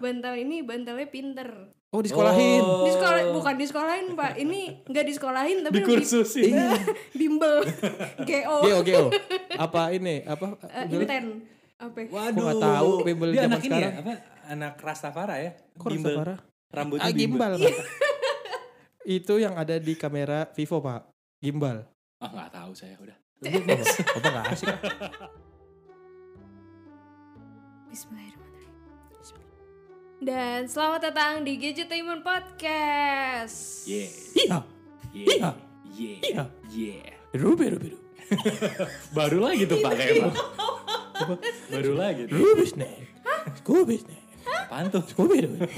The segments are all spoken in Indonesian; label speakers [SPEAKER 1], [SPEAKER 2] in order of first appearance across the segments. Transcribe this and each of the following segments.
[SPEAKER 1] bantal ini bantalnya pinter
[SPEAKER 2] Oh disekolahin.
[SPEAKER 1] di sekolah bukan disekolahin pak ini nggak disekolahin tapi
[SPEAKER 3] dikursusin
[SPEAKER 1] di- bimbel eh, go
[SPEAKER 2] Iya. Geo geo. Apa ini? Apa?
[SPEAKER 1] Eh,
[SPEAKER 2] Udah lah.
[SPEAKER 1] inten apa
[SPEAKER 3] waduh
[SPEAKER 2] Gua nggak tahu bimbel
[SPEAKER 3] dia
[SPEAKER 2] zaman
[SPEAKER 3] anak ini ya
[SPEAKER 2] sekarang.
[SPEAKER 3] apa anak Rastafara ya
[SPEAKER 2] Kok
[SPEAKER 3] Bimbel.
[SPEAKER 2] rasa parah?
[SPEAKER 3] rambutnya
[SPEAKER 2] Ah
[SPEAKER 3] bimbel
[SPEAKER 2] gimbal. Pak. Itu yang ada di kamera Vivo pak. Gimbal.
[SPEAKER 3] ah nggak tahu saya udah
[SPEAKER 2] Apa nggak asik?
[SPEAKER 1] Bismillahirrahmanirrahim dan selamat datang di Gadgetainment Podcast
[SPEAKER 3] yeah
[SPEAKER 2] Iya.
[SPEAKER 3] yeah yeah yeah
[SPEAKER 2] Rubi rubi
[SPEAKER 3] Iya. baru lagi tuh pak kayak baru lagi tuh
[SPEAKER 2] rubi snack. Scooby snack.
[SPEAKER 3] apaan tuh
[SPEAKER 2] Scooby rubi.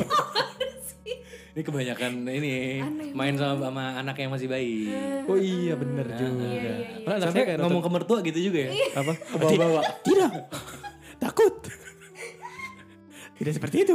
[SPEAKER 3] ini kebanyakan ini
[SPEAKER 1] Aneh
[SPEAKER 3] main sama, sama anak yang masih bayi
[SPEAKER 2] Oh iya bener juga.
[SPEAKER 1] Iya, iya, iya.
[SPEAKER 2] Malah anak saya
[SPEAKER 3] sampai
[SPEAKER 2] kayak ngomong
[SPEAKER 3] ngomong ke mertua gitu juga ya
[SPEAKER 2] apa?
[SPEAKER 3] bawa-bawa
[SPEAKER 2] Tidak. Takut. Tidak seperti itu.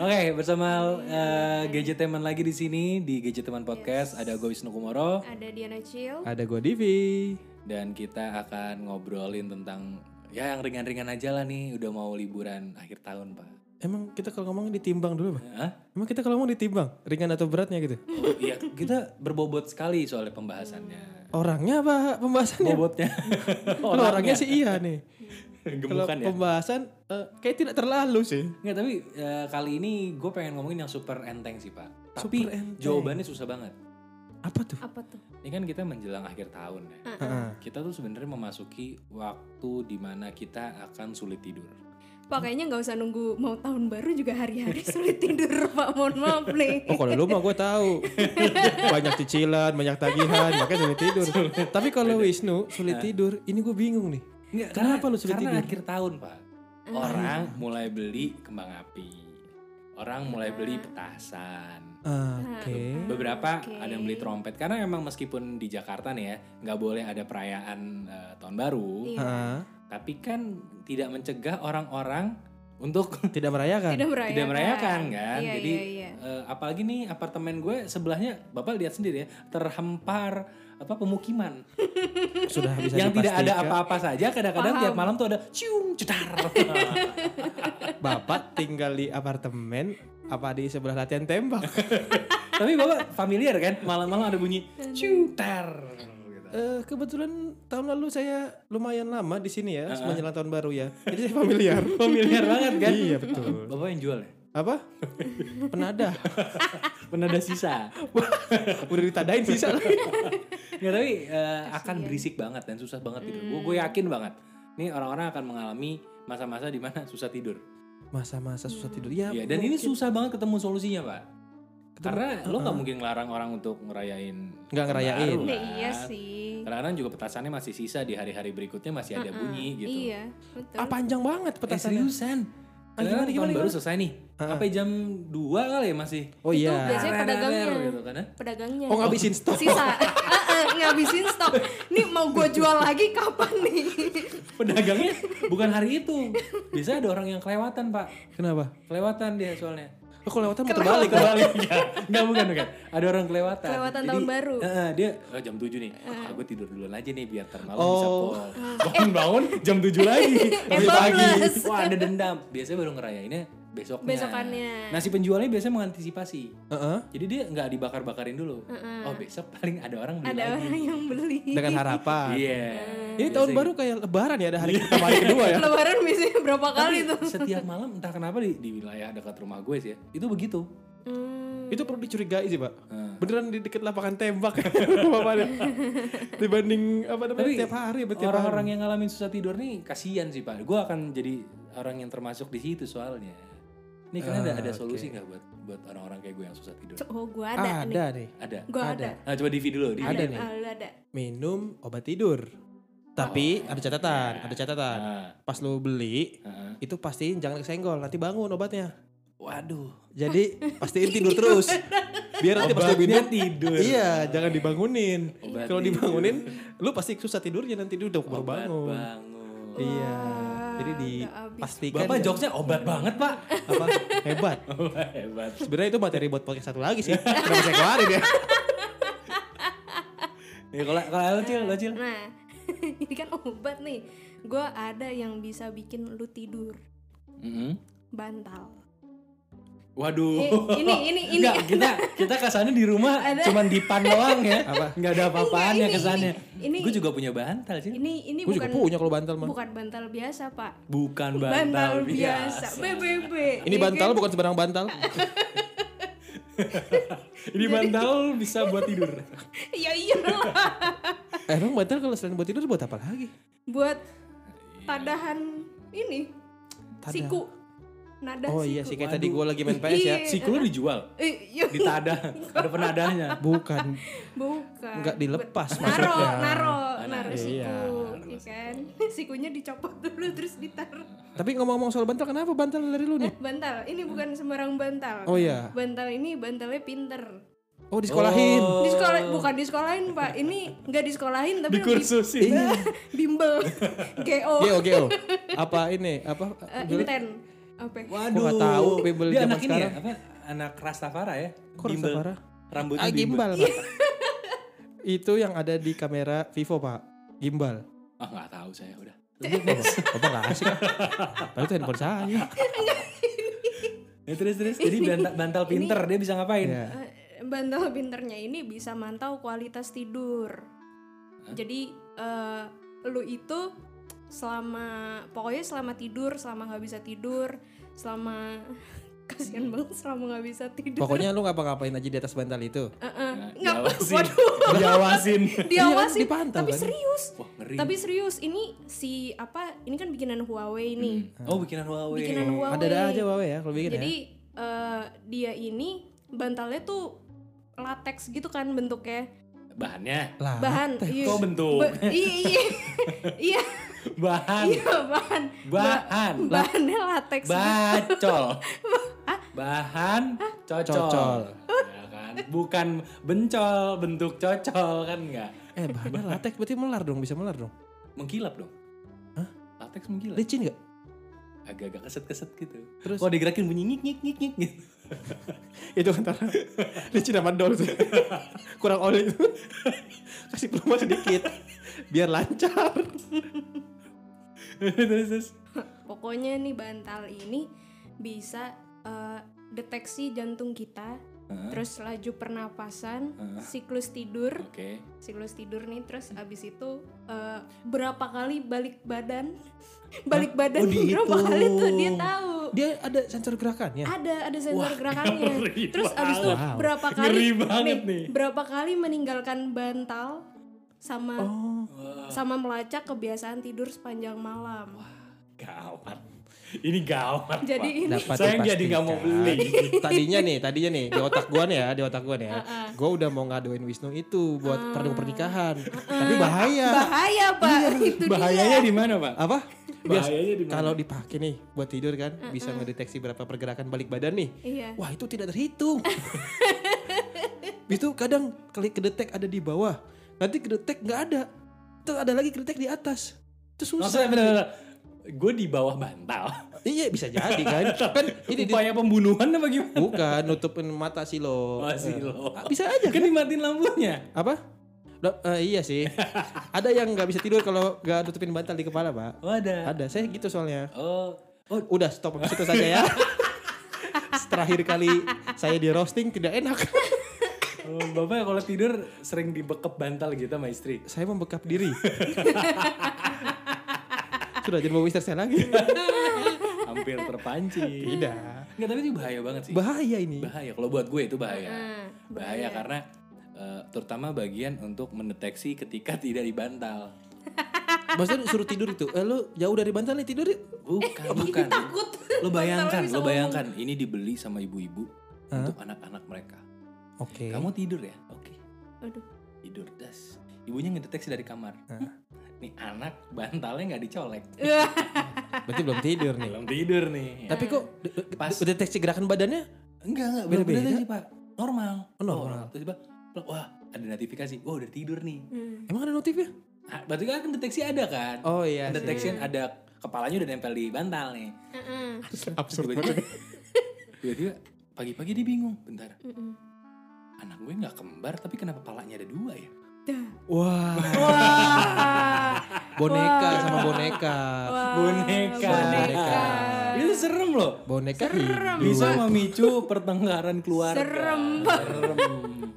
[SPEAKER 3] Oke, bersama eh, gadget teman lagi di sini di gadget teman podcast ada gue Wisnu Kumoro
[SPEAKER 1] ada Diana Chill
[SPEAKER 2] Ada gua Divi.
[SPEAKER 3] dan kita akan ngobrolin tentang ya yang ringan-ringan aja lah nih udah mau liburan akhir tahun pak.
[SPEAKER 2] Emang kita kalau ngomong ditimbang dulu, Pak?
[SPEAKER 3] Hah?
[SPEAKER 2] Emang kita kalau ngomong ditimbang, ringan atau beratnya gitu?
[SPEAKER 1] Hmm.
[SPEAKER 3] Oh, iya kita berbobot sekali soalnya pembahasannya.
[SPEAKER 2] Orangnya apa pembahasannya?
[SPEAKER 3] Bobotnya
[SPEAKER 2] Kalau orangnya. sih iya nih. Kalau
[SPEAKER 3] gemukan ya.
[SPEAKER 2] pembahasan eh, kayak tidak terlalu sih.
[SPEAKER 3] Nggak, tapi eh, kali ini gue pengen ngomongin yang super enteng sih pak. Tapi
[SPEAKER 2] Super enteng.
[SPEAKER 3] jawabannya susah banget.
[SPEAKER 2] Apa tuh?
[SPEAKER 1] apa tuh
[SPEAKER 3] Ini kan kita menjelang akhir tahun ya.
[SPEAKER 2] Heeh.
[SPEAKER 3] Kita tuh sebenarnya memasuki waktu dimana kita akan sulit tidur.
[SPEAKER 1] Pak kayaknya nggak usah nunggu mau tahun baru juga hari-hari sulit tidur Pak mohon maaf nih
[SPEAKER 2] Oh kalau lu mah gue tahu banyak cicilan, banyak tagihan, makanya sulit tidur. Tapi kalau Wisnu
[SPEAKER 3] Ah.
[SPEAKER 2] sulit tidur, ini gue bingung nih.
[SPEAKER 3] Nggak,
[SPEAKER 2] Kenapa
[SPEAKER 3] karena-
[SPEAKER 2] lu sulit
[SPEAKER 3] Karena
[SPEAKER 2] tidur?
[SPEAKER 3] akhir tahun pak Orang mulai beli kembang api Orang
[SPEAKER 1] Iya.
[SPEAKER 3] mulai beli petasan
[SPEAKER 2] Oke.
[SPEAKER 3] Beberapa
[SPEAKER 1] Oke.
[SPEAKER 3] ada yang beli trompet Karena emang meskipun di Jakarta nih ya nggak boleh ada perayaan eh, tahun baru
[SPEAKER 1] Iya.
[SPEAKER 2] Heeh.
[SPEAKER 3] Tapi kan tidak mencegah orang-orang Untuk
[SPEAKER 2] Ah, Tidak merayakan.
[SPEAKER 1] tidak merayakan
[SPEAKER 3] tidak merayakan kan
[SPEAKER 1] ya, Iya,
[SPEAKER 3] Jadi
[SPEAKER 1] iya, iya.
[SPEAKER 3] eh, apalagi nih apartemen gue sebelahnya Bapak lihat sendiri ya Terhampar apa pemukiman
[SPEAKER 2] Sudah bisa
[SPEAKER 3] yang tidak ada
[SPEAKER 2] dipastikan.
[SPEAKER 3] apa-apa saja kadang-kadang
[SPEAKER 1] Paham.
[SPEAKER 3] tiap malam tuh ada cium cetar
[SPEAKER 2] Bapak tinggal di apartemen apa di sebelah latihan tembak?
[SPEAKER 3] Tapi bapak familiar kan malam-malam ada bunyi cuter. gitu.
[SPEAKER 2] Eh, kebetulan tahun lalu saya lumayan lama di sini ya, menjelang tahun baru ya. Jadi saya familiar.
[SPEAKER 3] Ah, Familiar banget kan?
[SPEAKER 2] Iya betul.
[SPEAKER 3] Bapak yang jual ya?
[SPEAKER 2] Apa? Penada.
[SPEAKER 3] Penada sisa.
[SPEAKER 2] Udah ditadain sisa lagi.
[SPEAKER 3] Nggak, tapi eh, akan berisik banget dan susah banget tidur. Gue
[SPEAKER 1] Hmm.
[SPEAKER 3] gue yakin banget. Ini orang-orang akan mengalami masa-masa di mana susah tidur.
[SPEAKER 2] Masa-masa susah tidur. Ya,
[SPEAKER 3] Iya, dan ini susah banget ketemu solusinya, Pak.
[SPEAKER 2] Ketemu-
[SPEAKER 3] Karena lo nggak mungkin ngelarang orang untuk ngerayain
[SPEAKER 2] Nggak ngerayain.
[SPEAKER 3] Baru,
[SPEAKER 1] Nah,
[SPEAKER 3] kan?
[SPEAKER 1] iya sih
[SPEAKER 3] Kadang-kadang juga petasannya masih sisa di hari-hari berikutnya masih ada bunyi gitu.
[SPEAKER 1] iya betul
[SPEAKER 2] Ah, panjang banget
[SPEAKER 3] Eh,
[SPEAKER 2] petasannya.
[SPEAKER 3] seriusan?
[SPEAKER 2] Ah, gimana,
[SPEAKER 3] Karena
[SPEAKER 2] gimana,
[SPEAKER 3] tahun baru
[SPEAKER 2] gimana?
[SPEAKER 3] selesai nih. Sampai jam 2 kali ya masih.
[SPEAKER 2] Oh
[SPEAKER 1] Itu
[SPEAKER 2] iya.
[SPEAKER 1] biasanya
[SPEAKER 3] Rer, rer,
[SPEAKER 1] pedagangnya.
[SPEAKER 3] rer, gitu kan, ya.
[SPEAKER 1] pedagangnya
[SPEAKER 2] Oh ngabisin stok.
[SPEAKER 1] sisa Eh, eh, ngabisin stok nih mau gue jual lagi kapan nih
[SPEAKER 3] Pedagangnya bukan hari itu. Biasanya ada orang yang kelewatan, Pak.
[SPEAKER 2] Kenapa?
[SPEAKER 3] Kelewatan dia soalnya.
[SPEAKER 2] Oh, kalau lewatan muter
[SPEAKER 3] Kebalik,
[SPEAKER 2] balik.
[SPEAKER 3] kebalik. Enggak, enggak, bukan, bukan. Ada orang kelewatan.
[SPEAKER 1] Kelewatan tahun baru. Eh.
[SPEAKER 3] eh, dia oh, jam 7 nih. Ah, gue tidur duluan aja nih biar ntar malam bisa
[SPEAKER 2] Oh.
[SPEAKER 3] pol. Bangun-bangun jam 7 lagi. Tapi
[SPEAKER 1] bablas.
[SPEAKER 3] Wah, ada dendam. Biasanya baru ngerayainnya besoknya.
[SPEAKER 1] Besokannya.
[SPEAKER 3] Nah, si penjualnya biasanya mengantisipasi.
[SPEAKER 2] Heeh.
[SPEAKER 3] Jadi dia nggak dibakar-bakarin dulu. Oh, besok paling ada orang beli
[SPEAKER 1] ada Eh.
[SPEAKER 3] lagi.
[SPEAKER 1] orang yang beli
[SPEAKER 2] Dengan harapan.
[SPEAKER 3] Iya.
[SPEAKER 2] Ini tahun baru kayak lebaran ya ada hari pertama hari kedua ya.
[SPEAKER 1] lebaran biasanya berapa kali
[SPEAKER 3] Tapi
[SPEAKER 1] tuh
[SPEAKER 3] setiap malam entah kenapa di, di wilayah dekat rumah gue sih ya, itu begitu.
[SPEAKER 1] Hmm,
[SPEAKER 2] Itu perlu dicurigai sih pak Beneran di deket lapangan tembak Bapaknya. Dibanding apa namanya
[SPEAKER 3] Tapi
[SPEAKER 2] tiap hari apa tiap
[SPEAKER 3] Orang-orang yang ngalamin susah tidur nih kasihan sih Pak. Gue akan jadi orang yang termasuk di situ soalnya. Nih kalian ada, ada solusi nggak buat buat orang-orang kayak gue yang susah tidur?
[SPEAKER 1] oh gue
[SPEAKER 2] hari.
[SPEAKER 1] ada nih
[SPEAKER 2] Ada nih
[SPEAKER 3] Ada.
[SPEAKER 1] gue ada
[SPEAKER 3] Nah, coba Divi dulu. Divi.
[SPEAKER 2] Ada nih.
[SPEAKER 1] Ah, lu ada
[SPEAKER 2] Minum obat tidur Tapi ada catatan Ada catatan
[SPEAKER 3] Ah,
[SPEAKER 2] Pas lu beli
[SPEAKER 3] ah.
[SPEAKER 2] Itu pastiin jangan kesenggol Nanti bangun obatnya
[SPEAKER 3] Waduh.
[SPEAKER 2] Jadi pastiin tidur terus Biar nanti pas lu
[SPEAKER 3] Obatnya
[SPEAKER 2] minum
[SPEAKER 3] tidur.
[SPEAKER 2] Iya jangan dibangunin
[SPEAKER 3] Obat
[SPEAKER 2] Kalau dibangunin Lu pasti susah tidurnya nanti lu udah baru
[SPEAKER 3] Obat
[SPEAKER 2] bangun
[SPEAKER 3] bangun.
[SPEAKER 2] Iya
[SPEAKER 1] Wah,
[SPEAKER 2] Jadi
[SPEAKER 1] nggak habis.
[SPEAKER 2] dipastikan
[SPEAKER 3] Bapak jokesnya obat banget Pak.
[SPEAKER 2] apa hebat
[SPEAKER 3] Hebat.
[SPEAKER 2] Sebenarnya itu materi buat podcast satu lagi sih. Kenapa saya keluarin ya?
[SPEAKER 3] Ya kalau kalau lo cil, lo cil.
[SPEAKER 1] Nah, ini kan obat nih. Gua ada yang bisa bikin lu tidur,
[SPEAKER 3] Mm-mm.
[SPEAKER 1] bantal.
[SPEAKER 3] Waduh.
[SPEAKER 1] Eh, ini, ini, ini.
[SPEAKER 3] Nggak, kita kita kesannya di rumah
[SPEAKER 1] Ada.
[SPEAKER 3] cuman dipan doang ya.
[SPEAKER 2] Apa?
[SPEAKER 3] Nggak ada apa-apaannya
[SPEAKER 1] Enggak, ini,
[SPEAKER 3] kesannya.
[SPEAKER 1] ini, ini.
[SPEAKER 3] Gue juga punya bantal sih.
[SPEAKER 1] Ini ini
[SPEAKER 2] Gue ya juga
[SPEAKER 1] bukan
[SPEAKER 2] punya kalau bantal mah.
[SPEAKER 1] bukan bantal biasa, Pak.
[SPEAKER 3] Bukan bantal,
[SPEAKER 1] Bantal
[SPEAKER 3] biasa.
[SPEAKER 1] biasa. BBB.
[SPEAKER 2] Ini
[SPEAKER 1] ya
[SPEAKER 2] bantal
[SPEAKER 1] kan?
[SPEAKER 2] bukan sembarang bantal.
[SPEAKER 3] Ini bantal bisa buat tidur.
[SPEAKER 1] Ya iyalah.
[SPEAKER 2] Eh, Emang bantal kalau selain buat tidur buat apa lagi?
[SPEAKER 1] Buat
[SPEAKER 3] Iya.
[SPEAKER 1] padahan ini.
[SPEAKER 2] Tada.
[SPEAKER 1] Siku. Nada
[SPEAKER 2] Oh
[SPEAKER 1] siku.
[SPEAKER 2] iya sih kayak
[SPEAKER 3] Waduh.
[SPEAKER 2] tadi gue lagi main PS ya.
[SPEAKER 1] Iya.
[SPEAKER 3] Siku lu dijual.
[SPEAKER 1] Eh, iya.
[SPEAKER 3] Ditadah. Ada penadahnya.
[SPEAKER 2] Bukan,
[SPEAKER 1] Bukan.
[SPEAKER 2] nggak dilepas
[SPEAKER 1] Naro,
[SPEAKER 2] maksudnya. ya.
[SPEAKER 1] naro, naro
[SPEAKER 3] Ah, naro.
[SPEAKER 1] siku,
[SPEAKER 2] Iya.
[SPEAKER 1] iya kan? Sikunya dicopot dulu terus ditaruh.
[SPEAKER 2] Tapi ngomong-ngomong soal bantal, kenapa bantal dari lu nih?
[SPEAKER 1] Bantal, ini bukan sembarang bantal.
[SPEAKER 2] Oh iya.
[SPEAKER 1] Bantal ini bantalnya pinter.
[SPEAKER 2] Oh disekolahin.
[SPEAKER 3] Oh.
[SPEAKER 1] Di sekolah bukan di sekolahin pak, ini nggak di sekolahin tapi
[SPEAKER 3] Dikursusin.
[SPEAKER 2] Iya.
[SPEAKER 1] namanya bimbel, go,
[SPEAKER 2] Geo geo. Apa ini? Apa?
[SPEAKER 1] Eh,
[SPEAKER 2] dulu-
[SPEAKER 1] inten, apa?
[SPEAKER 3] Waduh.
[SPEAKER 2] nggak tahu bimbel
[SPEAKER 3] Dia
[SPEAKER 2] zaman
[SPEAKER 3] anak ini ya,
[SPEAKER 2] sekarang.
[SPEAKER 3] apa? Anak Rastafara ya?
[SPEAKER 2] Kok
[SPEAKER 3] Bimbel.
[SPEAKER 2] Rastafara?
[SPEAKER 3] Rambutnya
[SPEAKER 2] Ah gimbal.
[SPEAKER 3] bimbel.
[SPEAKER 2] Pak. Itu yang ada di kamera Vivo pak. Gimbal.
[SPEAKER 3] Ah nggak tahu saya udah.
[SPEAKER 2] Apa nggak asik? Tapi itu handphone saya.
[SPEAKER 3] Ya, terus terus jadi bantal, bantal pinter dia bisa ngapain?
[SPEAKER 2] Iya.
[SPEAKER 1] Eh, Bantal pinternya ini bisa mantau kualitas tidur. Jadi eh, lu itu selama pokoknya selama tidur, selama nggak bisa tidur, selama kasihan banget selama nggak bisa tidur.
[SPEAKER 2] Pokoknya lu ngapa-ngapain aja di atas bantal itu.
[SPEAKER 1] Eh, eh,
[SPEAKER 3] Nah,
[SPEAKER 1] nggak
[SPEAKER 3] diawasin. Iya,
[SPEAKER 1] waduh,
[SPEAKER 3] Diawasin.
[SPEAKER 1] diawasin.
[SPEAKER 2] dipantau
[SPEAKER 1] tapi
[SPEAKER 2] kan?
[SPEAKER 1] serius,
[SPEAKER 3] Wah ngeri.
[SPEAKER 1] Tapi serius ini si apa ini kan bikinan Huawei nih.
[SPEAKER 3] oh bikinan Huawei.
[SPEAKER 1] Bikinan Huawei.
[SPEAKER 2] Ada ada aja bawa ya kalau
[SPEAKER 1] Oh,
[SPEAKER 2] bikin
[SPEAKER 1] iya, Jadi
[SPEAKER 2] ya.
[SPEAKER 1] eh, dia ini bantalnya tuh latex gitu kan bentuknya.
[SPEAKER 3] Bahannya.
[SPEAKER 2] Lah,
[SPEAKER 1] Bahan iya.
[SPEAKER 3] Kok bentuk?
[SPEAKER 1] Ba- iya iya. Iya,
[SPEAKER 3] Bahan.
[SPEAKER 1] iya bahan. Ba-
[SPEAKER 3] Bahan.
[SPEAKER 1] Bahannya latex. ya.
[SPEAKER 3] Bacol. Bahan cocol.
[SPEAKER 2] Cocol.
[SPEAKER 3] Ya kan? Bukan bencol, bentuk cocol kan enggak.
[SPEAKER 2] eh bahannya latex berarti melar dong, bisa melar dong.
[SPEAKER 3] Mengkilap dong. Hah? Latex mengkilap.
[SPEAKER 2] Licin nggak?
[SPEAKER 3] Agak-agak keset-keset gitu.
[SPEAKER 2] Terus?
[SPEAKER 3] Kalau digerakin bunyi ngik ngik ngik ngik gitu.
[SPEAKER 2] itu kan antara licin sama dol tuh. Kurang oli itu. Kasih pelumas sedikit biar lancar.
[SPEAKER 3] terus terus.
[SPEAKER 1] Pokoknya nih bantal ini bisa eh, deteksi jantung kita,
[SPEAKER 3] Hah?
[SPEAKER 1] terus laju pernapasan,
[SPEAKER 3] Hah?
[SPEAKER 1] siklus tidur,
[SPEAKER 3] Oke.
[SPEAKER 1] siklus tidur nih terus abis itu eh, berapa kali balik badan balik badan
[SPEAKER 2] Oh, dihitung.
[SPEAKER 3] gitu.
[SPEAKER 1] berapa kali tuh dia tahu
[SPEAKER 2] Dia ada sensor gerakannya.
[SPEAKER 1] ada ada sensor
[SPEAKER 3] Eh, Wah,
[SPEAKER 1] gerakannya
[SPEAKER 3] ngeri
[SPEAKER 1] terus abis itu
[SPEAKER 2] banget.
[SPEAKER 1] berapa
[SPEAKER 3] Wow.
[SPEAKER 1] kali
[SPEAKER 3] Ngeri banget nih.
[SPEAKER 1] berapa kali meninggalkan bantal sama
[SPEAKER 2] Oh.
[SPEAKER 1] sama melacak kebiasaan tidur sepanjang malam
[SPEAKER 3] Gawat. Ini gawat.
[SPEAKER 1] Jadi
[SPEAKER 3] Pak.
[SPEAKER 1] ini-
[SPEAKER 2] Dapat
[SPEAKER 3] Saya jadi nggak mau
[SPEAKER 2] dipastikan.
[SPEAKER 3] beli.
[SPEAKER 2] kan? tadinya nih, tadinya nih di otak gua nih ya, di otak gua nih ya. Gua udah mau ngadoin Wisnu itu buat
[SPEAKER 3] Ah.
[SPEAKER 2] perdu pernikahan. Tapi bahaya.
[SPEAKER 1] bahaya pak itu
[SPEAKER 3] Iya, Bahayanya di mana, Pak?
[SPEAKER 2] Apa? Bias-
[SPEAKER 3] Bahayanya di mana?
[SPEAKER 2] Kalau dipakai nih buat tidur kan, bisa ngedeteksi berapa pergerakan balik badan nih.
[SPEAKER 1] Iya.
[SPEAKER 2] Wah, itu tidak terhitung. itu kadang klik kedetek ada di bawah. Nanti kedetek nggak ada. Terus ada lagi kedetek di atas. Itu susah.
[SPEAKER 3] Maksudnya benar Gue di bawah bantal.
[SPEAKER 2] Iya, bisa jadi kan. kan ini di-
[SPEAKER 3] Upaya pembunuhan apa gimana?
[SPEAKER 2] bukan nutupin mata sih lo.
[SPEAKER 3] Oh, sih lo.
[SPEAKER 2] Eh, Bisa aja
[SPEAKER 3] Kan dimatiin lampunya.
[SPEAKER 2] apa Da- eh, iya sih ada yang nggak bisa tidur kalau nggak tutupin bantal di kepala pak
[SPEAKER 3] Wadah.
[SPEAKER 2] ada saya gitu soalnya
[SPEAKER 3] Oh. Oh,
[SPEAKER 2] udah stop habis itu saja ya terakhir kali saya di roasting tidak enak
[SPEAKER 3] oh, Bapak kalau tidur sering dibekep bantal gitu sama istri.
[SPEAKER 2] saya membekap diri sudah jadi mau istri saya lagi
[SPEAKER 3] Hampir terpancing.
[SPEAKER 2] tidak
[SPEAKER 3] Enggak, tapi itu bahaya banget sih.
[SPEAKER 2] bahaya ini
[SPEAKER 3] bahaya kalau buat gue itu bahaya.
[SPEAKER 1] Heeh,
[SPEAKER 3] bahaya karena eh, terutama bagian untuk mendeteksi ketika tidak di bantal.
[SPEAKER 2] maksudnya suruh tidur itu eh, lu jauh dari bantal nih tidur yuk.
[SPEAKER 3] Bukan, bukan.
[SPEAKER 1] takut Bantalnya
[SPEAKER 3] Lo bayangkan,
[SPEAKER 1] bisa
[SPEAKER 3] lo bayangkan ini dibeli sama ibu-ibu
[SPEAKER 2] Hah?
[SPEAKER 3] untuk anak-anak mereka.
[SPEAKER 2] oke
[SPEAKER 3] Kamu tidur ya? Oke.
[SPEAKER 1] ngomong. aduh
[SPEAKER 3] Tidur das. Ibunya ngedeteksi dari kamar. "Hah, Nih anak bantalnya nggak dicolek.
[SPEAKER 2] berarti belum tidur nih
[SPEAKER 3] Belum tidur nih.
[SPEAKER 2] tapi kok de- de-
[SPEAKER 3] Pas.
[SPEAKER 2] deteksi gerakan badannya
[SPEAKER 3] enggak enggak belum
[SPEAKER 2] Beda-beda?
[SPEAKER 3] deteksi, Pak. Normal.
[SPEAKER 2] Oh, normal.
[SPEAKER 3] Terus tiba plak, wah ada notifikasi. Oh udah tidur nih.
[SPEAKER 1] Hmm.
[SPEAKER 2] emang ada notifnya
[SPEAKER 3] Ah, Berarti kan deteksi ada kan?
[SPEAKER 2] oh iya sih.
[SPEAKER 3] detection ada kepalanya udah nempel di bantal nih.
[SPEAKER 1] Heeh.
[SPEAKER 2] absurd
[SPEAKER 3] Tiba-tiba, tiba-tiba pagi-pagi dia bingung. Bentar,
[SPEAKER 1] Mm-mm.
[SPEAKER 3] anak gue nggak kembar tapi kenapa palanya ada dua ya?
[SPEAKER 2] Wah,
[SPEAKER 1] Wah.
[SPEAKER 2] boneka
[SPEAKER 1] Wah.
[SPEAKER 2] sama boneka.
[SPEAKER 1] Wah,
[SPEAKER 3] Boneka.
[SPEAKER 1] boneka.
[SPEAKER 3] Itu serem loh.
[SPEAKER 2] boneka iya.
[SPEAKER 1] Serem.
[SPEAKER 2] hidup
[SPEAKER 3] Bisa memicu pertengkaran keluarga.
[SPEAKER 1] Serem.
[SPEAKER 3] Serem.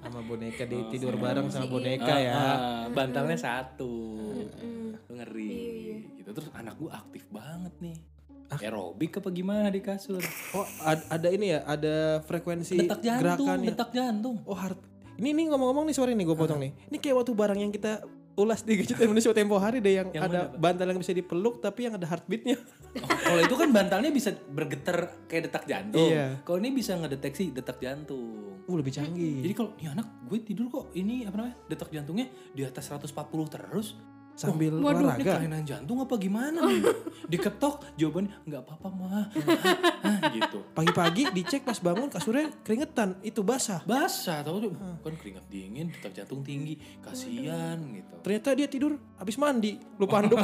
[SPEAKER 2] sama boneka dia tidur bareng sama boneka
[SPEAKER 3] Oh, Ah,
[SPEAKER 2] ya
[SPEAKER 3] ah, bantalnya satu. Lu Ngeri.
[SPEAKER 1] Iya, iya.
[SPEAKER 3] Gitu. Terus anak gue aktif banget nih. Ah. Aerobik apa gimana di kasur?
[SPEAKER 2] oh ad- ada ini ya ada frekuensi
[SPEAKER 3] Detak jantung,
[SPEAKER 2] gerakannya
[SPEAKER 3] detak Ah. jantung.
[SPEAKER 2] oh hard ini ini ngomong-ngomong nih sorry nih gue potong nih ini kayak waktu barang yang kita ulas di gadget Indonesia tempo hari deh yang,
[SPEAKER 3] Yang
[SPEAKER 2] ada
[SPEAKER 3] mana, Pak?
[SPEAKER 2] bantal yang bisa dipeluk tapi yang ada heartbeatnya
[SPEAKER 3] Oh, Kalau itu kan bantalnya bisa bergetar kayak detak jantung.
[SPEAKER 2] Iya.
[SPEAKER 3] Kalau ini bisa ngedeteksi detak jantung.
[SPEAKER 2] uh lebih canggih
[SPEAKER 3] Jadi kalau nih anak gue tidur kok ini apa namanya detak jantungnya di atas 140 terus
[SPEAKER 2] sambil
[SPEAKER 1] Waduh, ini
[SPEAKER 3] Oh, ini
[SPEAKER 2] olahraga
[SPEAKER 3] kelainan jantung apa gimana? nih? Diketok jawabannya nggak apa-apa mah Ah, gitu.
[SPEAKER 2] pagi-pagi dicek pas bangun kasurnya keringetan itu basah
[SPEAKER 3] Basah tau tuh kan keringat dingin detak jantung tinggi kasihan gitu.
[SPEAKER 2] ternyata dia tidur habis mandi lupa handuk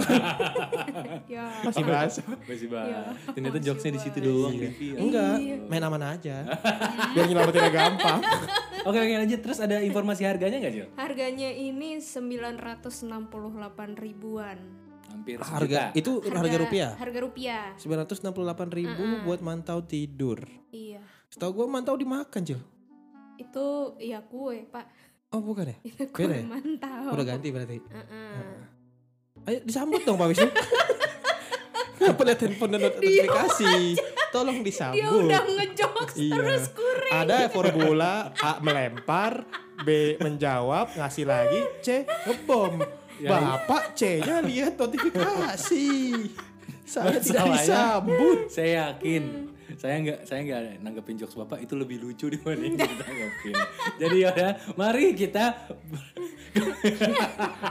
[SPEAKER 1] ya
[SPEAKER 2] masih basah
[SPEAKER 1] Iya,
[SPEAKER 3] Masih bah. Ternyata
[SPEAKER 1] masih
[SPEAKER 3] jokesnya di situ
[SPEAKER 1] Bas.
[SPEAKER 3] doang.
[SPEAKER 2] Iya.
[SPEAKER 3] Livi.
[SPEAKER 2] enggak
[SPEAKER 1] Iya.
[SPEAKER 2] main aman aja biar nyelamatinnya gampang
[SPEAKER 3] Oke oke lanjut terus ada informasi harganya nggak Jel?
[SPEAKER 1] harganya ini 968 ribuan
[SPEAKER 3] Hampir
[SPEAKER 2] harga
[SPEAKER 3] sejuta.
[SPEAKER 2] itu harga rupiah
[SPEAKER 1] harga rupiah
[SPEAKER 2] 968.000 buat mantau tidur
[SPEAKER 1] iya
[SPEAKER 2] setahu gue mantau dimakan cil
[SPEAKER 1] itu ya kue pak
[SPEAKER 2] oh bukan ya
[SPEAKER 1] itu kue
[SPEAKER 2] Beda ya?
[SPEAKER 1] mantau
[SPEAKER 2] udah ganti berarti
[SPEAKER 1] Heeh.
[SPEAKER 2] ayo disambut dong pak Wisnu Kenapa lihat handphone dan notifikasi? Tolong
[SPEAKER 1] dia
[SPEAKER 2] disambut.
[SPEAKER 1] udah ngejokes
[SPEAKER 2] Iya.
[SPEAKER 1] terus kuring
[SPEAKER 2] Ada formula A melempar, B menjawab, ngasih lagi, C ngebom.
[SPEAKER 3] Ya,
[SPEAKER 2] Bapak C-nya lihat notifikasi. Saya tidak
[SPEAKER 3] Masalahnya-
[SPEAKER 2] disambut.
[SPEAKER 3] saya yakin
[SPEAKER 2] Hmm.
[SPEAKER 3] saya nggak saya nggak nanggepin jokes bapak itu lebih lucu dibanding kita nanggepin jadi yaudah mari kita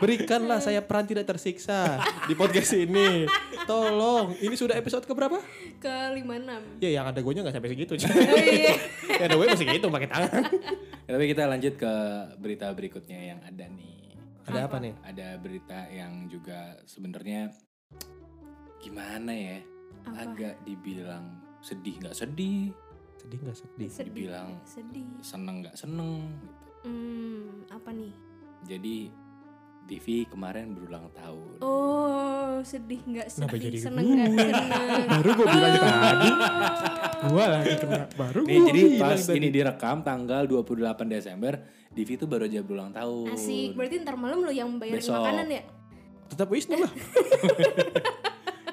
[SPEAKER 2] Berikanlah saya peran tidak tersiksa di podcast ini. Tolong. Ini sudah episode keberapa?
[SPEAKER 1] ke 56
[SPEAKER 2] Ya yang ada gue nggak sampai segitu.
[SPEAKER 1] oh, iya.
[SPEAKER 2] yang ada gue masih gitu pakai tangan.
[SPEAKER 3] tapi kita lanjut ke berita berikutnya yang ada nih
[SPEAKER 2] Ada apa nih?
[SPEAKER 3] ada berita yang juga sebenarnya gimana ya agak dibilang sedih nggak sedih
[SPEAKER 2] Sedih nggak sedih?
[SPEAKER 1] sedih
[SPEAKER 3] Dibilang.
[SPEAKER 1] sedih
[SPEAKER 3] seneng nggak seneng gitu.
[SPEAKER 1] hmm, apa nih
[SPEAKER 3] jadi TV kemarin berulang tahun
[SPEAKER 1] oh sedih nggak
[SPEAKER 2] Kenapa
[SPEAKER 1] sedih
[SPEAKER 2] jadi
[SPEAKER 1] seneng nggak seneng
[SPEAKER 2] Baru gue bilang tadi.
[SPEAKER 1] Oh.
[SPEAKER 2] Gue lagi kena. Baru
[SPEAKER 3] Nih,
[SPEAKER 2] gua
[SPEAKER 3] jadi
[SPEAKER 2] bilang
[SPEAKER 3] pas
[SPEAKER 2] tadi.
[SPEAKER 3] ini direkam tanggal 28 Desember, Divi tuh baru aja berulang tahun.
[SPEAKER 1] Asik, berarti ntar malam lo yang bayarin
[SPEAKER 3] Besok.
[SPEAKER 1] makanan ya?
[SPEAKER 2] Tetap Wisnu lah.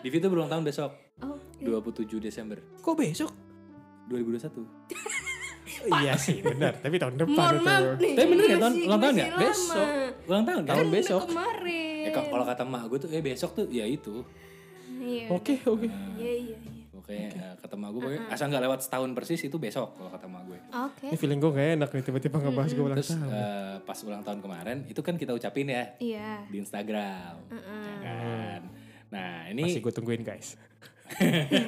[SPEAKER 3] Divi tuh berulang tahun besok,
[SPEAKER 1] Oh,
[SPEAKER 3] 27 Desember
[SPEAKER 2] Kok besok?
[SPEAKER 3] 2021.
[SPEAKER 2] Iya sih benar. Tapi tahun depan
[SPEAKER 1] mohon maaf
[SPEAKER 2] itu.
[SPEAKER 1] nih.
[SPEAKER 3] Tapi bener ya,
[SPEAKER 1] masih-
[SPEAKER 3] tahun ulang tahun
[SPEAKER 1] masih
[SPEAKER 3] ya?
[SPEAKER 1] lama.
[SPEAKER 2] Besok.
[SPEAKER 3] Ulang tahun kan?
[SPEAKER 2] Tahun
[SPEAKER 1] Kan
[SPEAKER 2] besok.
[SPEAKER 1] udah kemarin.
[SPEAKER 3] Ya, kalau kalau kata mak gue tuh, eh besok tuh ya itu.
[SPEAKER 1] Iya.
[SPEAKER 2] Oke oke.
[SPEAKER 1] Iya, iya, iya.
[SPEAKER 3] Pokoknya eh, kata mak gue, pokoknya asal nggak lewat setahun persis itu besok kalau kata mak gue.
[SPEAKER 1] Oke.
[SPEAKER 2] Ini feeling gue gak enak nih tiba-tiba ngebahas gue ulang
[SPEAKER 3] Terus
[SPEAKER 2] tahun.
[SPEAKER 3] eh, pas ulang tahun kemarin, itu kan kita ucapin ya
[SPEAKER 1] Iya.
[SPEAKER 3] di Instagram. ya kan? Nah ini
[SPEAKER 2] Masih gue tungguin guys.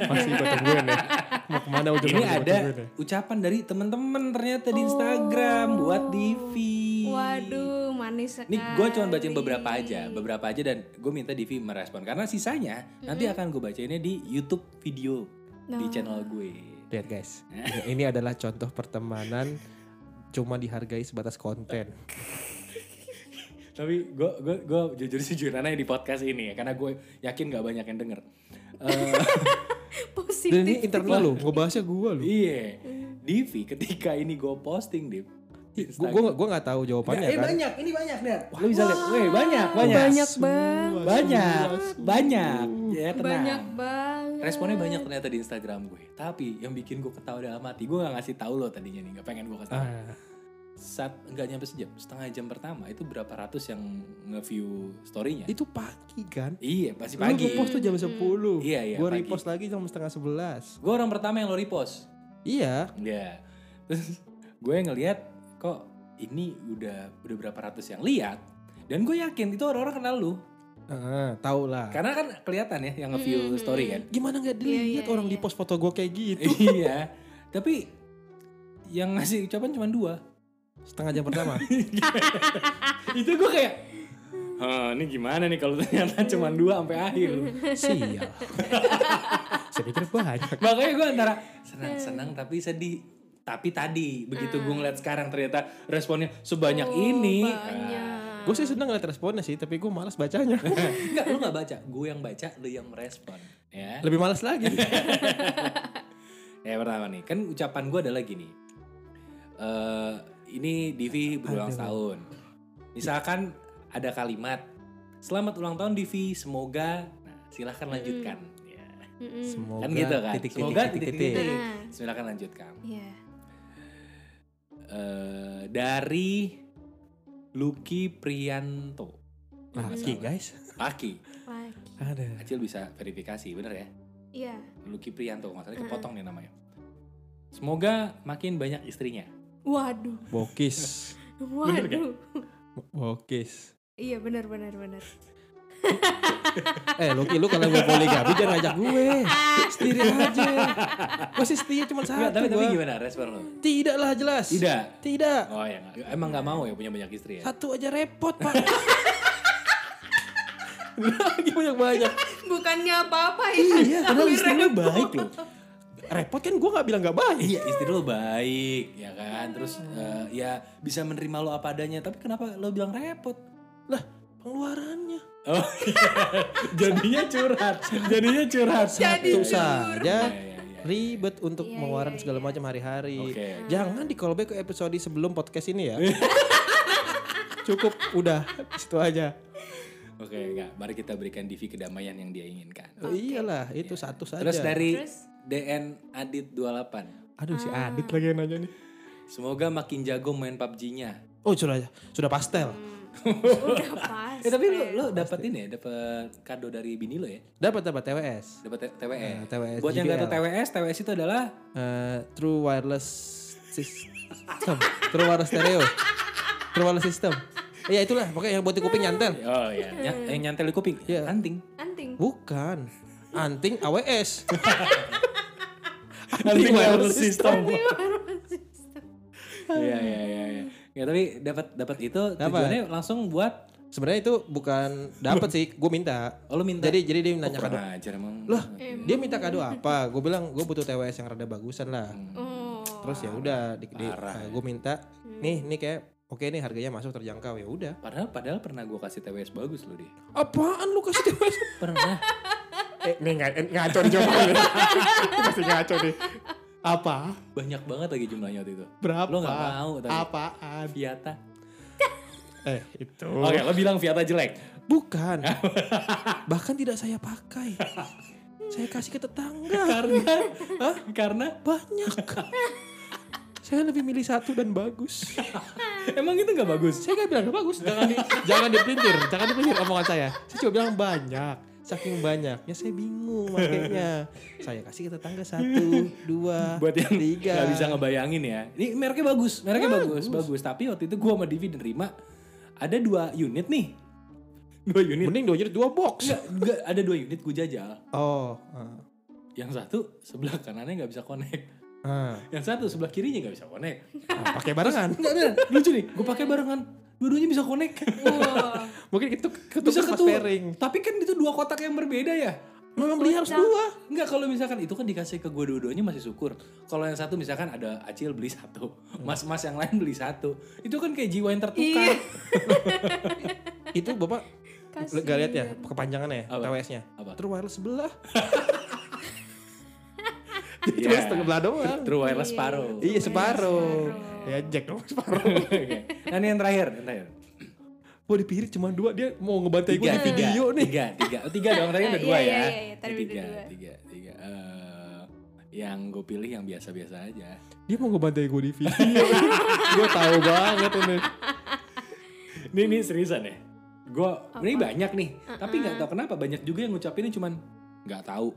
[SPEAKER 2] Masih gue tungguin ya. Mau ya. kemana ujung
[SPEAKER 3] Ini ada ucapan dari teman-teman ternyata di Instagram buat Divi.
[SPEAKER 1] Waduh, manis sekali.
[SPEAKER 3] Nih gue cuma bacain beberapa aja, beberapa aja dan gue minta Divi merespon karena sisanya nanti akan gue bacainnya di YouTube video di channel gue.
[SPEAKER 2] Lihat guys. Ini adalah contoh pertemanan cuma dihargai sebatas konten.
[SPEAKER 3] Tapi gue gue gue jujur sejujurnya di podcast ini ya karena gue yakin gak banyak yang denger. Eh,
[SPEAKER 1] Positif.
[SPEAKER 2] Dan ini internal loh, ngebahasnya gue loh.
[SPEAKER 3] iya, Divi ketika ini gue posting Div.
[SPEAKER 2] Gue gua gua nggak tahu jawabannya kan.
[SPEAKER 3] Ya, eh, banyak, ini banyak deh. Lu bisa lihat, Weh, banyak, banyak,
[SPEAKER 1] Banyak banget.
[SPEAKER 3] banyak, banyak. Ya tenang.
[SPEAKER 1] Banyak banget.
[SPEAKER 3] Responnya banyak ternyata di Instagram gue. Tapi yang bikin gue ketawa dalam hati, gue gak ngasih tahu lo tadinya nih, gak pengen gue kasih tahu.
[SPEAKER 2] Ah,
[SPEAKER 3] Saat nggak nyampe sejam, setengah jam pertama itu berapa ratus yang nge-view storynya?
[SPEAKER 2] itu pagi kan?
[SPEAKER 3] Iya, pasti
[SPEAKER 2] Pagi.
[SPEAKER 3] pagi.
[SPEAKER 2] Lu ngepost tuh jam 10.
[SPEAKER 3] Iya, iya,
[SPEAKER 2] Gue
[SPEAKER 3] pagi.
[SPEAKER 2] repost lagi jam setengah 11.
[SPEAKER 3] Gue orang pertama yang lo repost.
[SPEAKER 2] Iya.
[SPEAKER 3] Iya. Terus gue ngelihat kok ini udah udah berapa ratus yang lihat. Dan gue yakin itu orang-orang kenal lu.
[SPEAKER 2] Ah, tahu lah.
[SPEAKER 3] Karena kan kelihatan ya yang nge-view
[SPEAKER 1] Hmm.
[SPEAKER 3] story kan.
[SPEAKER 2] Gimana nggak
[SPEAKER 1] iya,
[SPEAKER 2] dilihat orang
[SPEAKER 1] iya.
[SPEAKER 2] di post foto gue kayak gitu?
[SPEAKER 3] iya. Tapi yang ngasih ucapan cuma dua.
[SPEAKER 2] Setengah jam pertama.
[SPEAKER 3] itu gue kayak Hah, ini gimana nih kalau ternyata
[SPEAKER 1] Hmm.
[SPEAKER 3] cuma dua sampai akhir
[SPEAKER 2] Sial. Saya pikir banyak.
[SPEAKER 3] makanya gue antara senang
[SPEAKER 1] Hmm.
[SPEAKER 3] senang tapi sedih tapi tadi begitu gue ngeliat sekarang ternyata responnya sebanyak
[SPEAKER 1] Oh,
[SPEAKER 3] ini
[SPEAKER 1] banyak.
[SPEAKER 3] ah,
[SPEAKER 2] Gue sih seneng ngeliat responnya sih, tapi gue malas bacanya.
[SPEAKER 3] Enggak, lu gak baca. Gue yang baca, lu yang merespon. Ya.
[SPEAKER 2] Lebih malas lagi.
[SPEAKER 3] Ya pertama nih, kan ucapan gue adalah gini. Eh, ini Divi berulang tahun. Misalkan ada kalimat, selamat ulang tahun Divi, semoga. Nah, silahkan
[SPEAKER 2] Hmm.
[SPEAKER 3] lanjutkan. Ya.
[SPEAKER 1] Mm-mm.
[SPEAKER 2] Semoga
[SPEAKER 3] Kan gitu kan.
[SPEAKER 2] titik-titik,
[SPEAKER 3] semoga
[SPEAKER 2] titik-titik.
[SPEAKER 3] titik-titik.
[SPEAKER 1] Nah.
[SPEAKER 3] Silahkan lanjutkan.
[SPEAKER 1] Iya.
[SPEAKER 3] Eh, dari Lucky Prianto.
[SPEAKER 2] Laki Nah, guys.
[SPEAKER 3] Laki.
[SPEAKER 1] Lagi.
[SPEAKER 2] Ada.
[SPEAKER 3] Acil bisa verifikasi, bener ya?
[SPEAKER 1] Iya.
[SPEAKER 3] Lucky Prianto, masalahnya
[SPEAKER 2] Hmm.
[SPEAKER 3] kepotong nih namanya. Semoga makin banyak istrinya.
[SPEAKER 1] Waduh.
[SPEAKER 2] Bokis. kan?
[SPEAKER 3] gak?
[SPEAKER 1] Waduh.
[SPEAKER 2] Bokis.
[SPEAKER 1] Iya benar benar benar.
[SPEAKER 2] Eh Lucky lu kalau gue poligami jangan ngajak gue. Sendiri aja. Gue sih setia cuma
[SPEAKER 3] Enggak,
[SPEAKER 2] satu.
[SPEAKER 3] tapi, tapi
[SPEAKER 2] gua.
[SPEAKER 3] gimana respon lo?
[SPEAKER 2] Tidak lah jelas.
[SPEAKER 3] Tidak.
[SPEAKER 2] Tidak.
[SPEAKER 3] Oh ya, nggak- emang nggak mau ya punya banyak istri ya?
[SPEAKER 2] Satu aja repot pak. Lagi banyak banyak.
[SPEAKER 1] Bukannya apa-apa ya.
[SPEAKER 2] Iya, padahal
[SPEAKER 1] tapi
[SPEAKER 2] istri lu
[SPEAKER 1] repot.
[SPEAKER 2] baik loh. Repot kan gue gak bilang gak baik.
[SPEAKER 3] Iya, istri lo baik, ya kan? Terus eh, ya bisa menerima lo apa adanya. Tapi kenapa lo bilang repot?
[SPEAKER 2] Lah pengeluarannya.
[SPEAKER 3] Oh, iya. jadinya curhat, jadinya curhat.
[SPEAKER 1] Jadi
[SPEAKER 2] Itu
[SPEAKER 1] Tidur.
[SPEAKER 2] saja
[SPEAKER 3] Iya, iya, iya.
[SPEAKER 2] ribet untuk
[SPEAKER 1] Iya,
[SPEAKER 2] mengeluarkan
[SPEAKER 1] iya,
[SPEAKER 2] segala
[SPEAKER 1] iya.
[SPEAKER 2] macam hari-hari.
[SPEAKER 3] Oke.
[SPEAKER 2] Jangan di callback ke episode sebelum podcast ini ya. Cukup udah itu aja.
[SPEAKER 3] Oke, enggak. Mari kita berikan Divi kedamaian yang dia inginkan.
[SPEAKER 2] Oh, iyalah itu
[SPEAKER 1] Iya.
[SPEAKER 2] satu saja.
[SPEAKER 3] Terus dari
[SPEAKER 1] Terus?
[SPEAKER 3] DN Adit 28.
[SPEAKER 2] Aduh si
[SPEAKER 1] Ah.
[SPEAKER 2] Adit lagi yang nanya nih.
[SPEAKER 3] Semoga makin jago main PUBG-nya.
[SPEAKER 2] Oh sudah sudah pastel.
[SPEAKER 1] Hmm, Udah pas.
[SPEAKER 3] Eh tapi lo lo dapat ini ya, dapat kado dari bini lo ya?
[SPEAKER 2] Dapat dapat TWS.
[SPEAKER 3] Dapat T- TWS.
[SPEAKER 2] Nah, TWS
[SPEAKER 3] Buat yang nggak tahu
[SPEAKER 2] JBL.
[SPEAKER 3] TWS, TWS itu adalah
[SPEAKER 2] Eh, true wireless system. true wireless stereo. True wireless system. Iya itulah pokoknya yang buat di kuping
[SPEAKER 1] Nah.
[SPEAKER 2] nyantel.
[SPEAKER 3] oh ya, ny- yang nyantel di kuping,
[SPEAKER 2] Iya.
[SPEAKER 3] anting.
[SPEAKER 1] Anting.
[SPEAKER 2] Bukan. Anting AWS.
[SPEAKER 3] Anting
[SPEAKER 2] wireless
[SPEAKER 3] system.
[SPEAKER 1] Anting wireless system.
[SPEAKER 3] Iya iya iya. Ya. ya tapi dapat dapat itu tujuannya langsung buat
[SPEAKER 2] Sebenarnya itu bukan dapat sih, gue minta.
[SPEAKER 3] oh, lo minta.
[SPEAKER 2] Jadi jadi dia nanya kado.
[SPEAKER 3] kurang ajar emang.
[SPEAKER 2] Loh, dia minta kado apa? Gue bilang gue butuh TWS yang rada bagusan lah.
[SPEAKER 1] Oh.
[SPEAKER 2] Terus ya udah, di,
[SPEAKER 3] Parah.
[SPEAKER 2] gue minta nih nih kayak oke nih harganya masuk terjangkau ya udah.
[SPEAKER 3] Padahal padahal pernah gue kasih TWS bagus lo dia.
[SPEAKER 2] Apaan lu kasih TWS?
[SPEAKER 3] Pernah.
[SPEAKER 2] eh, nih nga, eh, ngaco nih jawabannya. Pasti ngaco nih. Apa?
[SPEAKER 3] Banyak banget lagi jumlahnya waktu itu.
[SPEAKER 2] Berapa?
[SPEAKER 3] Lo nggak mau tapi.
[SPEAKER 2] Apaan?
[SPEAKER 3] Viata.
[SPEAKER 2] Eh, itu.
[SPEAKER 3] Oh. Oke, lo bilang Viata jelek.
[SPEAKER 2] Bukan. Bahkan tidak saya pakai. Saya kasih ke tetangga.
[SPEAKER 3] Karena karena
[SPEAKER 2] Banyak. saya lebih milih satu dan bagus.
[SPEAKER 3] emang itu nggak bagus.
[SPEAKER 2] Saya gak bilang gak bagus. Jangan di, jangan dipelintir. Jangan dipelintir omongan saya. Saya cuma bilang banyak. Saking banyaknya saya bingung makanya. Saya kasih ke tetangga satu, dua,
[SPEAKER 3] buat yang
[SPEAKER 2] tiga.
[SPEAKER 3] nggak bisa ngebayangin ya ini mereknya bagus mereknya bagus bagus tapi waktu itu gua sama Divi nerima ada dua unit nih dua unit
[SPEAKER 2] Mending dua jadi dua box.
[SPEAKER 3] Nggak, nggak, ada dua unit gue jajal
[SPEAKER 2] Oh. ah.
[SPEAKER 3] yang satu sebelah kanannya nggak bisa connect
[SPEAKER 2] Ah,
[SPEAKER 3] yang satu sebelah kirinya nggak bisa connect
[SPEAKER 2] ah, pakai barengan.
[SPEAKER 3] nggak bener lucu nih gue pakai barengan dua-duanya bisa connect
[SPEAKER 1] Wah.
[SPEAKER 2] Mungkin itu ketuk
[SPEAKER 3] bisa
[SPEAKER 2] bisa
[SPEAKER 3] ketua
[SPEAKER 2] pairing.
[SPEAKER 3] tapi kan itu dua kotak yang berbeda ya
[SPEAKER 2] Memang beli harus dua.
[SPEAKER 3] Enggak kalau misalkan itu kan dikasih ke gue dua-duanya masih syukur. Kalau yang satu misalkan ada Acil beli satu, mas-mas yang lain beli satu. Itu kan kayak jiwa yang tertukar.
[SPEAKER 1] Iya.
[SPEAKER 2] Itu bapak
[SPEAKER 1] Kasihan.
[SPEAKER 2] gak lihat ya kepanjangannya
[SPEAKER 3] Apa?
[SPEAKER 2] TWS-nya.
[SPEAKER 3] Apa?
[SPEAKER 2] Terus wireless sebelah.
[SPEAKER 3] Iya.
[SPEAKER 2] Cuma sebelah doang.
[SPEAKER 3] True wireless paruh.
[SPEAKER 2] Iya separuh.
[SPEAKER 1] separuh.
[SPEAKER 2] Ya Jack dong separuh.
[SPEAKER 3] Oke. Nah ini yang terakhir, yang terakhir.
[SPEAKER 2] Gua dipirit cuma dua dia mau ngebantai gue
[SPEAKER 3] Tiga,
[SPEAKER 2] di video
[SPEAKER 3] tiga,
[SPEAKER 2] nih.
[SPEAKER 3] Tiga, tiga. Oh, tiga dong, tadi udah dua
[SPEAKER 1] Iya,
[SPEAKER 3] ya.
[SPEAKER 1] iya, iya, iya, tadi udah
[SPEAKER 3] tiga,
[SPEAKER 1] dua.
[SPEAKER 3] tiga, tiga. Eh, yang gue pilih yang biasa-biasa aja.
[SPEAKER 2] Dia mau ngebantai gue di video. gue tahu banget ini.
[SPEAKER 3] Ini, ini seriusan ya. Gue, ini banyak nih. Tapi nggak tahu kenapa banyak juga yang ngucapinnya cuman nggak tahu.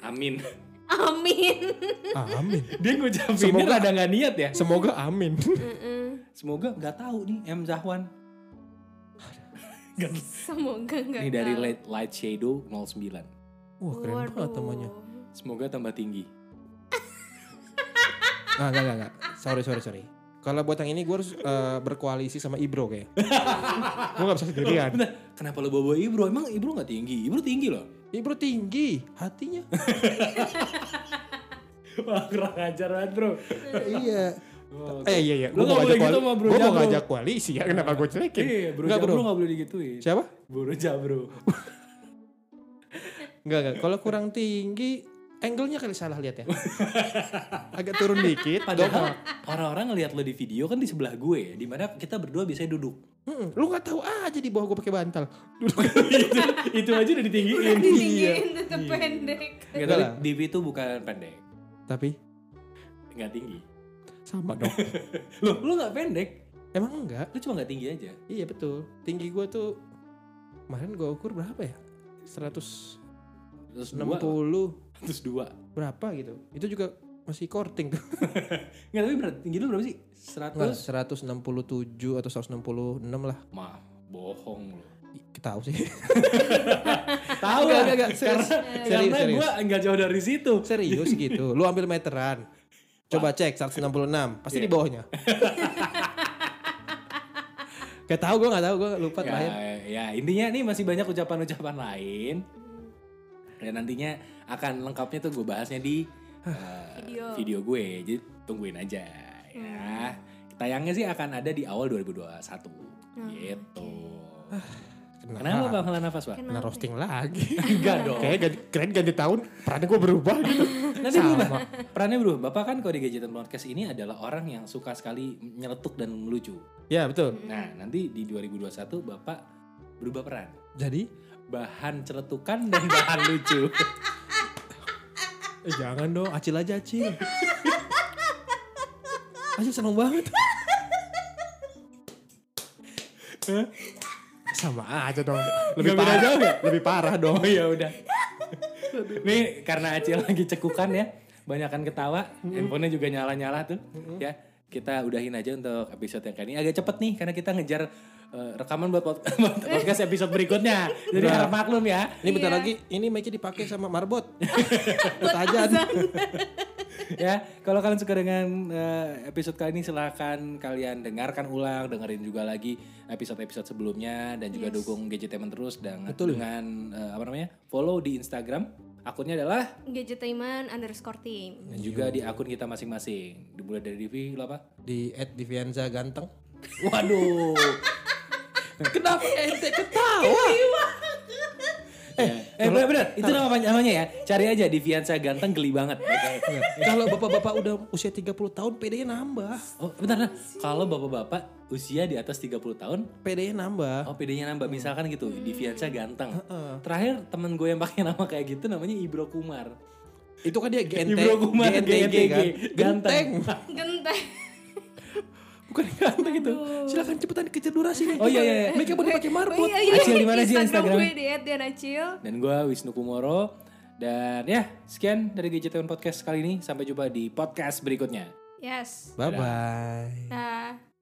[SPEAKER 3] Amin.
[SPEAKER 1] Amin.
[SPEAKER 2] Amin.
[SPEAKER 3] Dia ngucapinnya
[SPEAKER 2] Semoga-
[SPEAKER 3] rada nggak niat ya.
[SPEAKER 2] Semoga amin.
[SPEAKER 1] Mm-mm.
[SPEAKER 3] Semoga nggak tahu nih M Zahwan. Nggak-
[SPEAKER 1] Semoga enggak.
[SPEAKER 3] Ini dari Light, Light Shadow 09.
[SPEAKER 2] Wah keren banget temannya.
[SPEAKER 3] Semoga tambah tinggi.
[SPEAKER 2] Nggak, nggak, nggak, nggak. Sorry, sorry, sorry. Kalau buat yang ini gue harus eh, berkoalisi sama Ibro kayak. gue gak bisa sendirian.
[SPEAKER 3] Bentar, kenapa lo bawa Ibro? Emang Ibro nggak tinggi? Ibro tinggi loh.
[SPEAKER 2] Ibro tinggi hatinya.
[SPEAKER 3] Wah kurang ajar banget bro.
[SPEAKER 2] iya.
[SPEAKER 3] Oh,
[SPEAKER 2] Eh iya iya, gue
[SPEAKER 3] Lu nggak
[SPEAKER 2] mau ngajak koalisi.
[SPEAKER 3] boleh gitu sama Bro
[SPEAKER 2] Gue mau
[SPEAKER 3] Jabro.
[SPEAKER 2] ngajak koalisi ya, kenapa gue celekin?
[SPEAKER 3] Iya, bro
[SPEAKER 2] Nggak,
[SPEAKER 3] jabro
[SPEAKER 2] bro.
[SPEAKER 3] nggak boleh digituin.
[SPEAKER 2] Siapa?
[SPEAKER 3] Bro jabro.
[SPEAKER 2] Enggak enggak. Kalau kurang tinggi, angle-nya kali salah lihat ya. Agak turun dikit.
[SPEAKER 3] Padahal
[SPEAKER 2] dongkol.
[SPEAKER 3] orang-orang ngelihat lo di video kan di sebelah gue ya, dimana kita berdua biasanya duduk.
[SPEAKER 2] Mm-mm, lu nggak tahu aja di bawah gue pakai bantal.
[SPEAKER 3] itu, itu aja udah ditinggiin.
[SPEAKER 1] ditinggiin tetep pendek
[SPEAKER 3] Iya, Nggak,
[SPEAKER 2] Enggak
[SPEAKER 3] tapi
[SPEAKER 2] lah.
[SPEAKER 3] Divi itu bukan pendek,
[SPEAKER 2] Tapi
[SPEAKER 3] nggak tinggi.
[SPEAKER 2] sama dong.
[SPEAKER 3] Lo lo nggak pendek,
[SPEAKER 2] Emang enggak?
[SPEAKER 3] lo cuma nggak tinggi aja.
[SPEAKER 2] Iya betul. Tinggi gue tuh kemarin gue ukur berapa ya? 160
[SPEAKER 3] Terus dua, terus dua.
[SPEAKER 2] berapa gitu. Itu juga masih korting tuh.
[SPEAKER 3] Nggak tapi berat, tinggi lo berapa sih?
[SPEAKER 2] Enggak,
[SPEAKER 3] 100
[SPEAKER 2] 167 atau 166 lah.
[SPEAKER 3] Mah, bohong lo.
[SPEAKER 2] Ih, Tahu sih.
[SPEAKER 3] Tahu
[SPEAKER 2] Enggak,
[SPEAKER 3] lah,
[SPEAKER 2] enggak, enggak, serius.
[SPEAKER 3] karena
[SPEAKER 2] Serius,
[SPEAKER 3] karena
[SPEAKER 2] serius.
[SPEAKER 3] gue nggak jauh dari situ.
[SPEAKER 2] Serius gitu. Lu ambil meteran. Coba cek 166, pasti
[SPEAKER 3] Iya.
[SPEAKER 2] di bawahnya. gak tau gue gak tau gue lupa
[SPEAKER 3] Ya,
[SPEAKER 2] terakhir.
[SPEAKER 3] ya intinya nih masih banyak ucapan-ucapan lain. Dan nantinya akan lengkapnya tuh gue bahasnya di eh,
[SPEAKER 1] Video.
[SPEAKER 3] video gue. Jadi tungguin aja ya. Tayangnya sih akan ada di awal 2021. gitu. Kenapa Bang Hela nafas, Pak?
[SPEAKER 2] Nah, Kena roasting lagi.
[SPEAKER 3] Enggak dong.
[SPEAKER 2] Kayaknya ganti, keren ganti tahun, perannya gue berubah gitu.
[SPEAKER 3] Nanti berubah. Perannya berubah. Bapak kan kalau di Gadgetan Podcast ini adalah orang yang suka sekali nyeletuk dan melucu.
[SPEAKER 2] ya betul.
[SPEAKER 3] Nah, nanti di 2021 Bapak berubah peran.
[SPEAKER 2] Jadi,
[SPEAKER 3] Bahan celetukan dan bahan lucu.
[SPEAKER 2] eh, jangan dong, acil aja acil. acil seneng banget. Hah? Sama aja dong. Lebih
[SPEAKER 3] Nggak beda
[SPEAKER 2] parah
[SPEAKER 3] jauh ya?
[SPEAKER 2] Lebih parah dong.
[SPEAKER 3] Oh ya udah. Nih karena Acil lagi cekukan ya, banyak kan ketawa, handphonenya juga nyala-nyala tuh. Ya kita udahin aja untuk episode yang kali ini agak cepet nih karena kita ngejar eh, rekaman buat pod- buat podcast episode berikutnya. Jadi harap maklum ya.
[SPEAKER 2] Ini bentar
[SPEAKER 1] Iya.
[SPEAKER 2] lagi, ini mic-nya dipakai sama marbot. Buat aja.
[SPEAKER 3] ya kalau kalian suka dengan eh, episode kali ini silahkan kalian dengarkan ulang dengerin juga lagi episode-episode sebelumnya dan juga dukung gadgetemen terus dengan dengan eh, apa namanya follow di Instagram akunnya adalah
[SPEAKER 1] gadgetainment underscore team
[SPEAKER 3] dan juga di akun kita masing-masing dimulai dari Divi lo apa
[SPEAKER 2] Di at Divianza ganteng.
[SPEAKER 3] waduh
[SPEAKER 2] Kenapa ente ketawa?
[SPEAKER 3] eh, eh bener bener itu nama panjang- namanya ya cari aja Diviansa ganteng geli banget Oke.
[SPEAKER 2] Kalau bapak-bapak udah usia 30 tahun, PD-nya nambah.
[SPEAKER 3] oh bentar bentar. kalau bapak-bapak usia di atas 30 tahun
[SPEAKER 2] PD-nya nambah.
[SPEAKER 3] Oh PD-nya nambah misalkan gitu Diviansa ganteng Terakhir temen gue yang pakai nama kayak gitu namanya Ibro Kumar
[SPEAKER 2] Itu kan dia GNT,
[SPEAKER 3] Ibro Kumar
[SPEAKER 2] GNTG kan.
[SPEAKER 3] ganteng.
[SPEAKER 2] Genteng.
[SPEAKER 1] genteng
[SPEAKER 3] Bukan ganteng itu
[SPEAKER 2] Silakan cepetan dikejar durasi nih.
[SPEAKER 3] Oh iya iya iya.
[SPEAKER 2] Mereka boleh pakai marbot.
[SPEAKER 1] iya
[SPEAKER 3] Acil di mana sih Instagram?
[SPEAKER 1] gue di @dianacil
[SPEAKER 3] Dan gue Wisnu Kumoro Dan ya sekian dari GJTN Podcast kali ini Sampai jumpa di podcast berikutnya
[SPEAKER 1] yes
[SPEAKER 2] Bye-bye.
[SPEAKER 1] nah